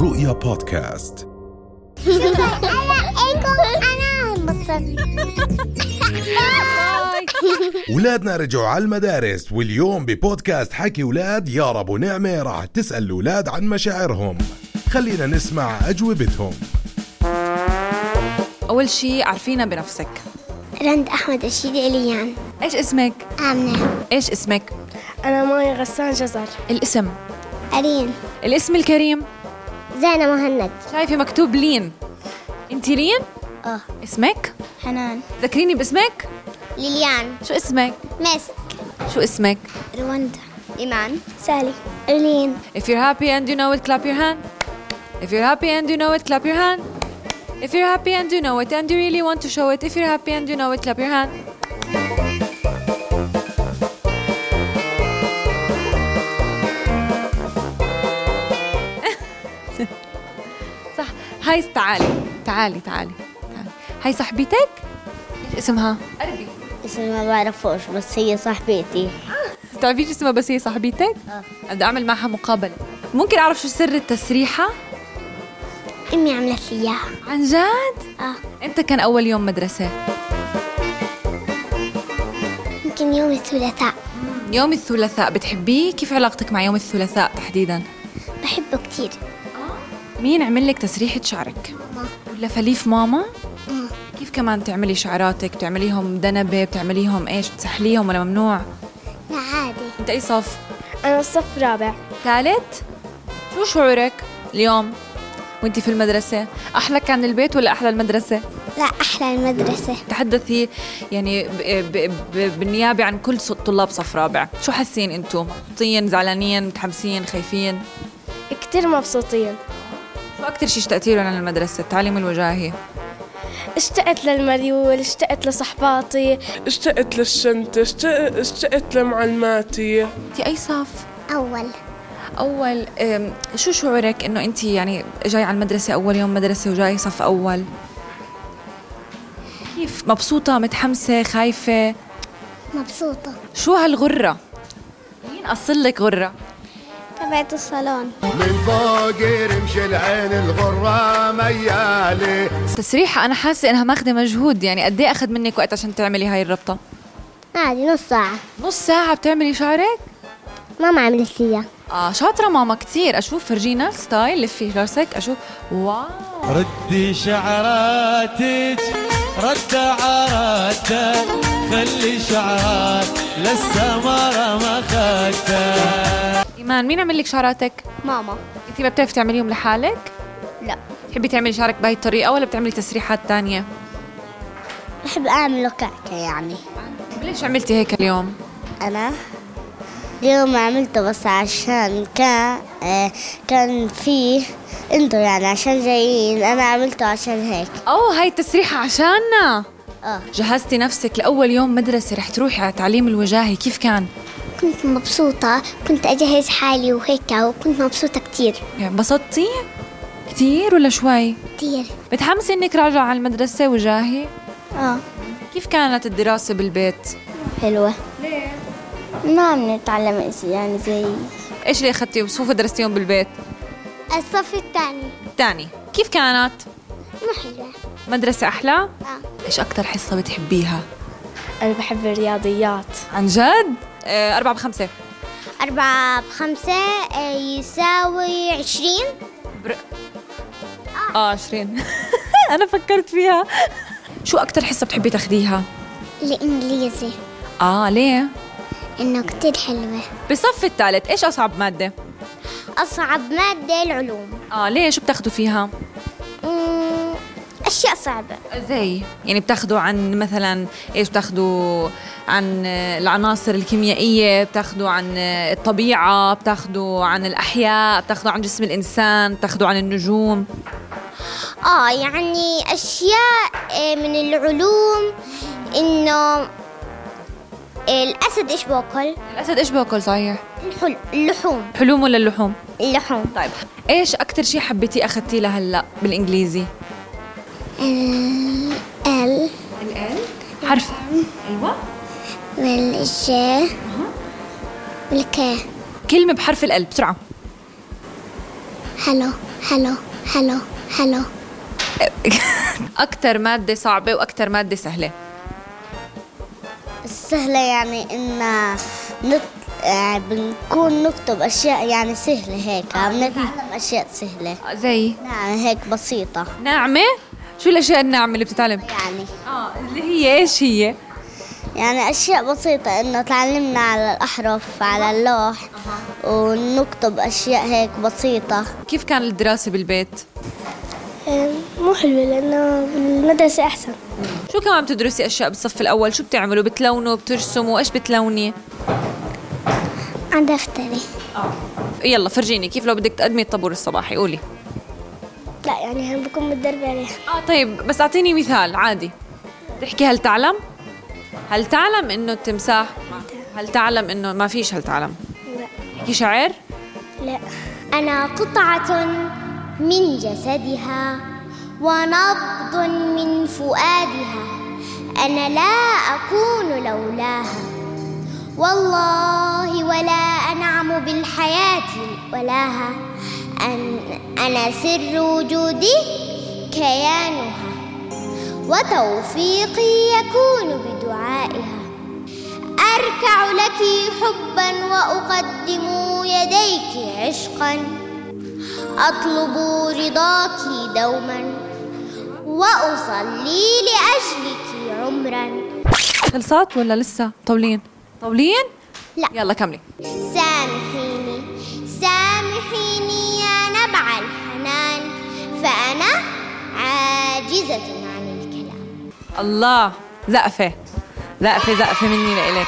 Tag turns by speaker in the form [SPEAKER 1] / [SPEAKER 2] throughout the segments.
[SPEAKER 1] رؤيا بودكاست
[SPEAKER 2] شوفي انا ايكو انا انبسطت
[SPEAKER 1] ولادنا رجعوا على المدارس واليوم ببودكاست حكي ولاد يا رب ونعمة راح تسأل الولاد عن مشاعرهم خلينا نسمع أجوبتهم
[SPEAKER 3] أول شي عرفينا بنفسك
[SPEAKER 2] رند احمد رشيد اليان
[SPEAKER 3] إيش اسمك؟
[SPEAKER 2] امنه
[SPEAKER 3] إيش اسمك؟
[SPEAKER 4] أنا ماي غسان جزر
[SPEAKER 3] الاسم
[SPEAKER 2] ارين
[SPEAKER 3] الاسم الكريم
[SPEAKER 2] زينه مهند
[SPEAKER 3] شايفة مكتوب لين أنت لين؟
[SPEAKER 2] اه
[SPEAKER 3] اسمك؟
[SPEAKER 2] حنان
[SPEAKER 3] ذكريني باسمك؟
[SPEAKER 2] ليليان
[SPEAKER 3] شو اسمك؟
[SPEAKER 2] مسك
[SPEAKER 3] شو اسمك؟
[SPEAKER 2] رواندا ايمان سالي الين
[SPEAKER 3] If you're happy and you know it, clap your hand. If you're happy and you know it, clap your hand. If you're happy and you know it and you really want to show it, if you're happy and you know it, clap your hand. صح هاي تعالي تعالي تعالي تعالي هاي صاحبتك ايش اسمها؟ قربي
[SPEAKER 2] اسمي ما بعرفوش بس هي صاحبتي
[SPEAKER 3] بتعرفيش اسمها بس هي صاحبتك؟ اه بدي اعمل معها مقابلة ممكن اعرف شو سر التسريحة؟
[SPEAKER 2] امي عملت لي اياها
[SPEAKER 3] عن جد؟
[SPEAKER 2] اه
[SPEAKER 3] امتى كان اول يوم مدرسة؟
[SPEAKER 2] يمكن يوم الثلاثاء
[SPEAKER 3] يوم الثلاثاء بتحبيه؟ كيف علاقتك مع يوم الثلاثاء تحديدا؟
[SPEAKER 2] بحبه كثير
[SPEAKER 3] مين عمل لك تسريحة شعرك؟
[SPEAKER 2] ماما.
[SPEAKER 3] ولا فليف ماما؟
[SPEAKER 2] مم.
[SPEAKER 3] كيف كمان تعملي شعراتك؟ بتعمليهم دنبة، بتعمليهم ايش؟ بتسحليهم ولا ممنوع؟
[SPEAKER 2] لا عادي
[SPEAKER 3] انت اي صف؟
[SPEAKER 4] أنا الصف رابع
[SPEAKER 3] ثالث؟ شو شعورك اليوم؟ وانت في المدرسة؟ أحلى كان البيت ولا أحلى المدرسة؟
[SPEAKER 2] لا احلى المدرسه
[SPEAKER 3] تحدثي يعني ب- ب- ب- بالنيابة عن كل ص- طلاب صف رابع شو حاسين انتم؟ مبسوطين زعلانين متحمسين خايفين
[SPEAKER 4] كتير مبسوطين
[SPEAKER 3] شو أكتر شيء اشتقتي له عن المدرسة التعليم الوجاهي
[SPEAKER 4] اشتقت للمريول اشتقت لصحباتي
[SPEAKER 5] اشتقت للشنطة اشتقت, اشتقت لمعلماتي
[SPEAKER 3] انت أي صف؟
[SPEAKER 2] اول
[SPEAKER 3] أول أم، شو شعورك إنه أنت يعني جاي على المدرسة أول يوم مدرسة وجاي صف أول؟ كيف مبسوطة متحمسة خايفة
[SPEAKER 2] مبسوطه
[SPEAKER 3] شو هالغرة؟ مين قصلك غرة؟
[SPEAKER 2] تبعت الصالون
[SPEAKER 6] من فوق رمش العين الغرة ميالي
[SPEAKER 3] تسريحة أنا حاسة إنها ماخذة مجهود يعني قد إيه أخذ منك وقت عشان تعملي هاي الربطة؟
[SPEAKER 2] عادي نص ساعه
[SPEAKER 3] نص ساعة بتعملي شعرك؟
[SPEAKER 2] ماما عملت لي اياها
[SPEAKER 3] اه شاطرة ماما كثير اشوف فرجينا ستايل لفي راسك اشوف واو
[SPEAKER 7] ردي شعراتك رد عراته خلي شعرات للسمرة ما خدته
[SPEAKER 3] ايمان مين عمل لك شعراتك؟
[SPEAKER 2] ماما
[SPEAKER 3] انت ما بتعرفي تعمليهم لحالك؟
[SPEAKER 2] لا
[SPEAKER 3] بتحبي تعملي شعرك بهي الطريقة ولا بتعملي تسريحات تانية؟
[SPEAKER 2] بحب اعمله كعكه يعني
[SPEAKER 3] ليش عملتي هيك اليوم؟
[SPEAKER 2] أنا اليوم عملته بس عشان كان آه، كان فيه انتوا يعني عشان جايين أنا عملته عشان هيك
[SPEAKER 3] اوه هاي التسريحة عشاننا
[SPEAKER 2] آه.
[SPEAKER 3] جهزتي نفسك لأول يوم مدرسة رح تروحي على التعليم الوجاهي كيف كان؟
[SPEAKER 2] كنت مبسوطة كنت أجهز حالي وهيك يعني، وكنت مبسوطة كتير
[SPEAKER 3] يعني انبسطتي؟ كثير ولا شوي؟
[SPEAKER 2] كتير
[SPEAKER 3] متحمسة انك راجعة على المدرسة وجاهي؟
[SPEAKER 2] اه
[SPEAKER 3] كيف كانت الدراسة بالبيت؟
[SPEAKER 2] حلوة ليه؟ ما بنتعلم اشي يعني زي
[SPEAKER 3] ايش اللي اخذتيه وشو درستيهم بالبيت؟
[SPEAKER 2] الصف الثاني
[SPEAKER 3] تاني كيف كانت؟
[SPEAKER 2] مو حلوة
[SPEAKER 3] مدرسة أحلى؟
[SPEAKER 2] اه
[SPEAKER 3] إيش أكتر حصة بتحبيها؟
[SPEAKER 4] أنا بحب الرياضيات
[SPEAKER 3] عن جد؟ آه، أربعة بخمسة
[SPEAKER 2] أربعة بخمسة آه، يساوي عشرين
[SPEAKER 3] بر... آه عشرين أنا فكرت فيها شو أكتر حصة بتحبي تاخديها؟
[SPEAKER 2] الإنجليزي
[SPEAKER 3] آه ليه؟
[SPEAKER 2] إنه كتير حلوة
[SPEAKER 3] بالصف الثالث إيش أصعب مادة؟
[SPEAKER 2] أصعب مادة العلوم
[SPEAKER 3] آه ليه شو بتاخدوا فيها؟
[SPEAKER 2] مم، أشياء صعبة
[SPEAKER 3] زي يعني بتاخدوا عن مثلا ايش بتاخدوا عن آه، العناصر الكيميائية بتاخدوا عن آه، الطبيعة بتاخدوا عن الأحياء بتاخدوا عن جسم الإنسان بتاخدوا عن النجوم
[SPEAKER 2] آه يعني أشياء آه، من العلوم إنه آه، الأسد إيش بأكل؟
[SPEAKER 3] الأسد إيش باكل صحيح؟
[SPEAKER 2] الحل... اللحوم
[SPEAKER 3] حلوم ولا اللحوم؟
[SPEAKER 2] اللحوم
[SPEAKER 3] طيب إيش أكتر شيء حبيتي أخذتيه لهلا بالإنجليزي؟
[SPEAKER 2] ال
[SPEAKER 3] حرف أيوة
[SPEAKER 2] والج والك
[SPEAKER 3] كلمة بحرف الأل بسرعة
[SPEAKER 2] هلو حلو حلو حلو
[SPEAKER 3] اكثر ماده صعبه واكثر ماده سهله
[SPEAKER 2] السهلة يعني إن نط... آه، بنكون نكتب أشياء يعني سهلة هيك بنتعلم أشياء سهلة
[SPEAKER 3] زي
[SPEAKER 2] نعم هيك بسيطة
[SPEAKER 3] ناعمه شو الاشياء الناعمه اللي بتتعلم
[SPEAKER 2] يعني
[SPEAKER 3] اه اللي هي ايش هي
[SPEAKER 2] يعني أشياء بسيطة إنه تعلمنا على الأحرف على اللوح ونكتب أشياء هيك بسيطة
[SPEAKER 3] كيف كان الدراسه بالبيت
[SPEAKER 4] مو حلوة لأنه بالمدرسة أحسن
[SPEAKER 3] شو كمان بتدرسي اشياء بالصف الاول شو بتعملوا بتلونوا بترسموا ايش بتلوني
[SPEAKER 2] عن دفتري
[SPEAKER 3] يلا فرجيني كيف لو بدك تقدمي الطابور الصباحي قولي
[SPEAKER 2] لا يعني هم بكون متدربة عليها
[SPEAKER 3] اه طيب بس اعطيني مثال عادي تحكي هل تعلم هل تعلم انه التمساح هل تعلم انه ما فيش هل تعلم احكي شعر
[SPEAKER 2] لا أنا قطعة من جسدها ونبض من فؤادها أنا لا أكون لولاها والله ولا أنعم بالحياة ولاها أن أنا سر وجودي كيانها وتوفيقي يكون بدعائها أركع لك حبا وأقدم يديك عشقا أطلب رضاك دوما وأصلي لأجلك عمرا
[SPEAKER 3] خلصت ولا لسه طولين طولين
[SPEAKER 2] لا.
[SPEAKER 3] يلا كملي
[SPEAKER 2] سامحيني سامحيني يا نبع الحنان فأنا عاجزة عن الكلام
[SPEAKER 3] الله زقفه زقفه زقفه مني لإلك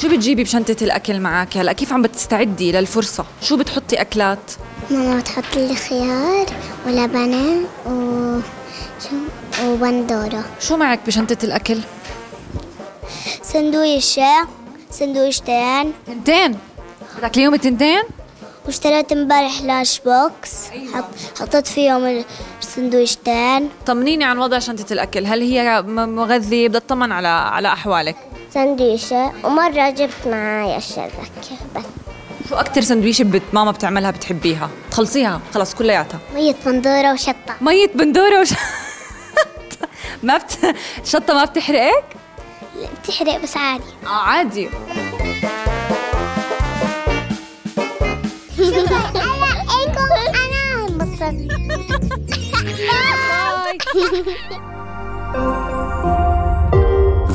[SPEAKER 3] شو بتجيبي بشنطة الأكل معك هلا كيف عم بتستعدي للفرصة شو بتحطي أكلات
[SPEAKER 2] ماما بتحط لي خيار ولبنة و شو وبندورة
[SPEAKER 3] شو معك بشنطة الأكل
[SPEAKER 2] سندويشة سندويشتين
[SPEAKER 3] تنتين بدك اليوم تنتين
[SPEAKER 2] واشتريت امبارح لاش بوكس حط حطيت فيهم السندويشتين
[SPEAKER 3] طمنيني عن وضع شنطة الأكل هل هي م- مغذية بدي أطمن على على أحوالك
[SPEAKER 2] سندويشة ومرة جبت معي أشياء زكية بس
[SPEAKER 3] شو أكتر سندويشة بت- ماما بتعملها بتحبيها تخلصيها خلص كلياتها
[SPEAKER 2] مية بندورة وشطة
[SPEAKER 3] مية بندورة وش ما بت... شطة ما بتحرقك؟
[SPEAKER 2] بتحرق بس عادي
[SPEAKER 3] آه عادي
[SPEAKER 2] أنا أكل أنا انبسطت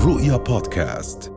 [SPEAKER 1] رؤيا بودكاست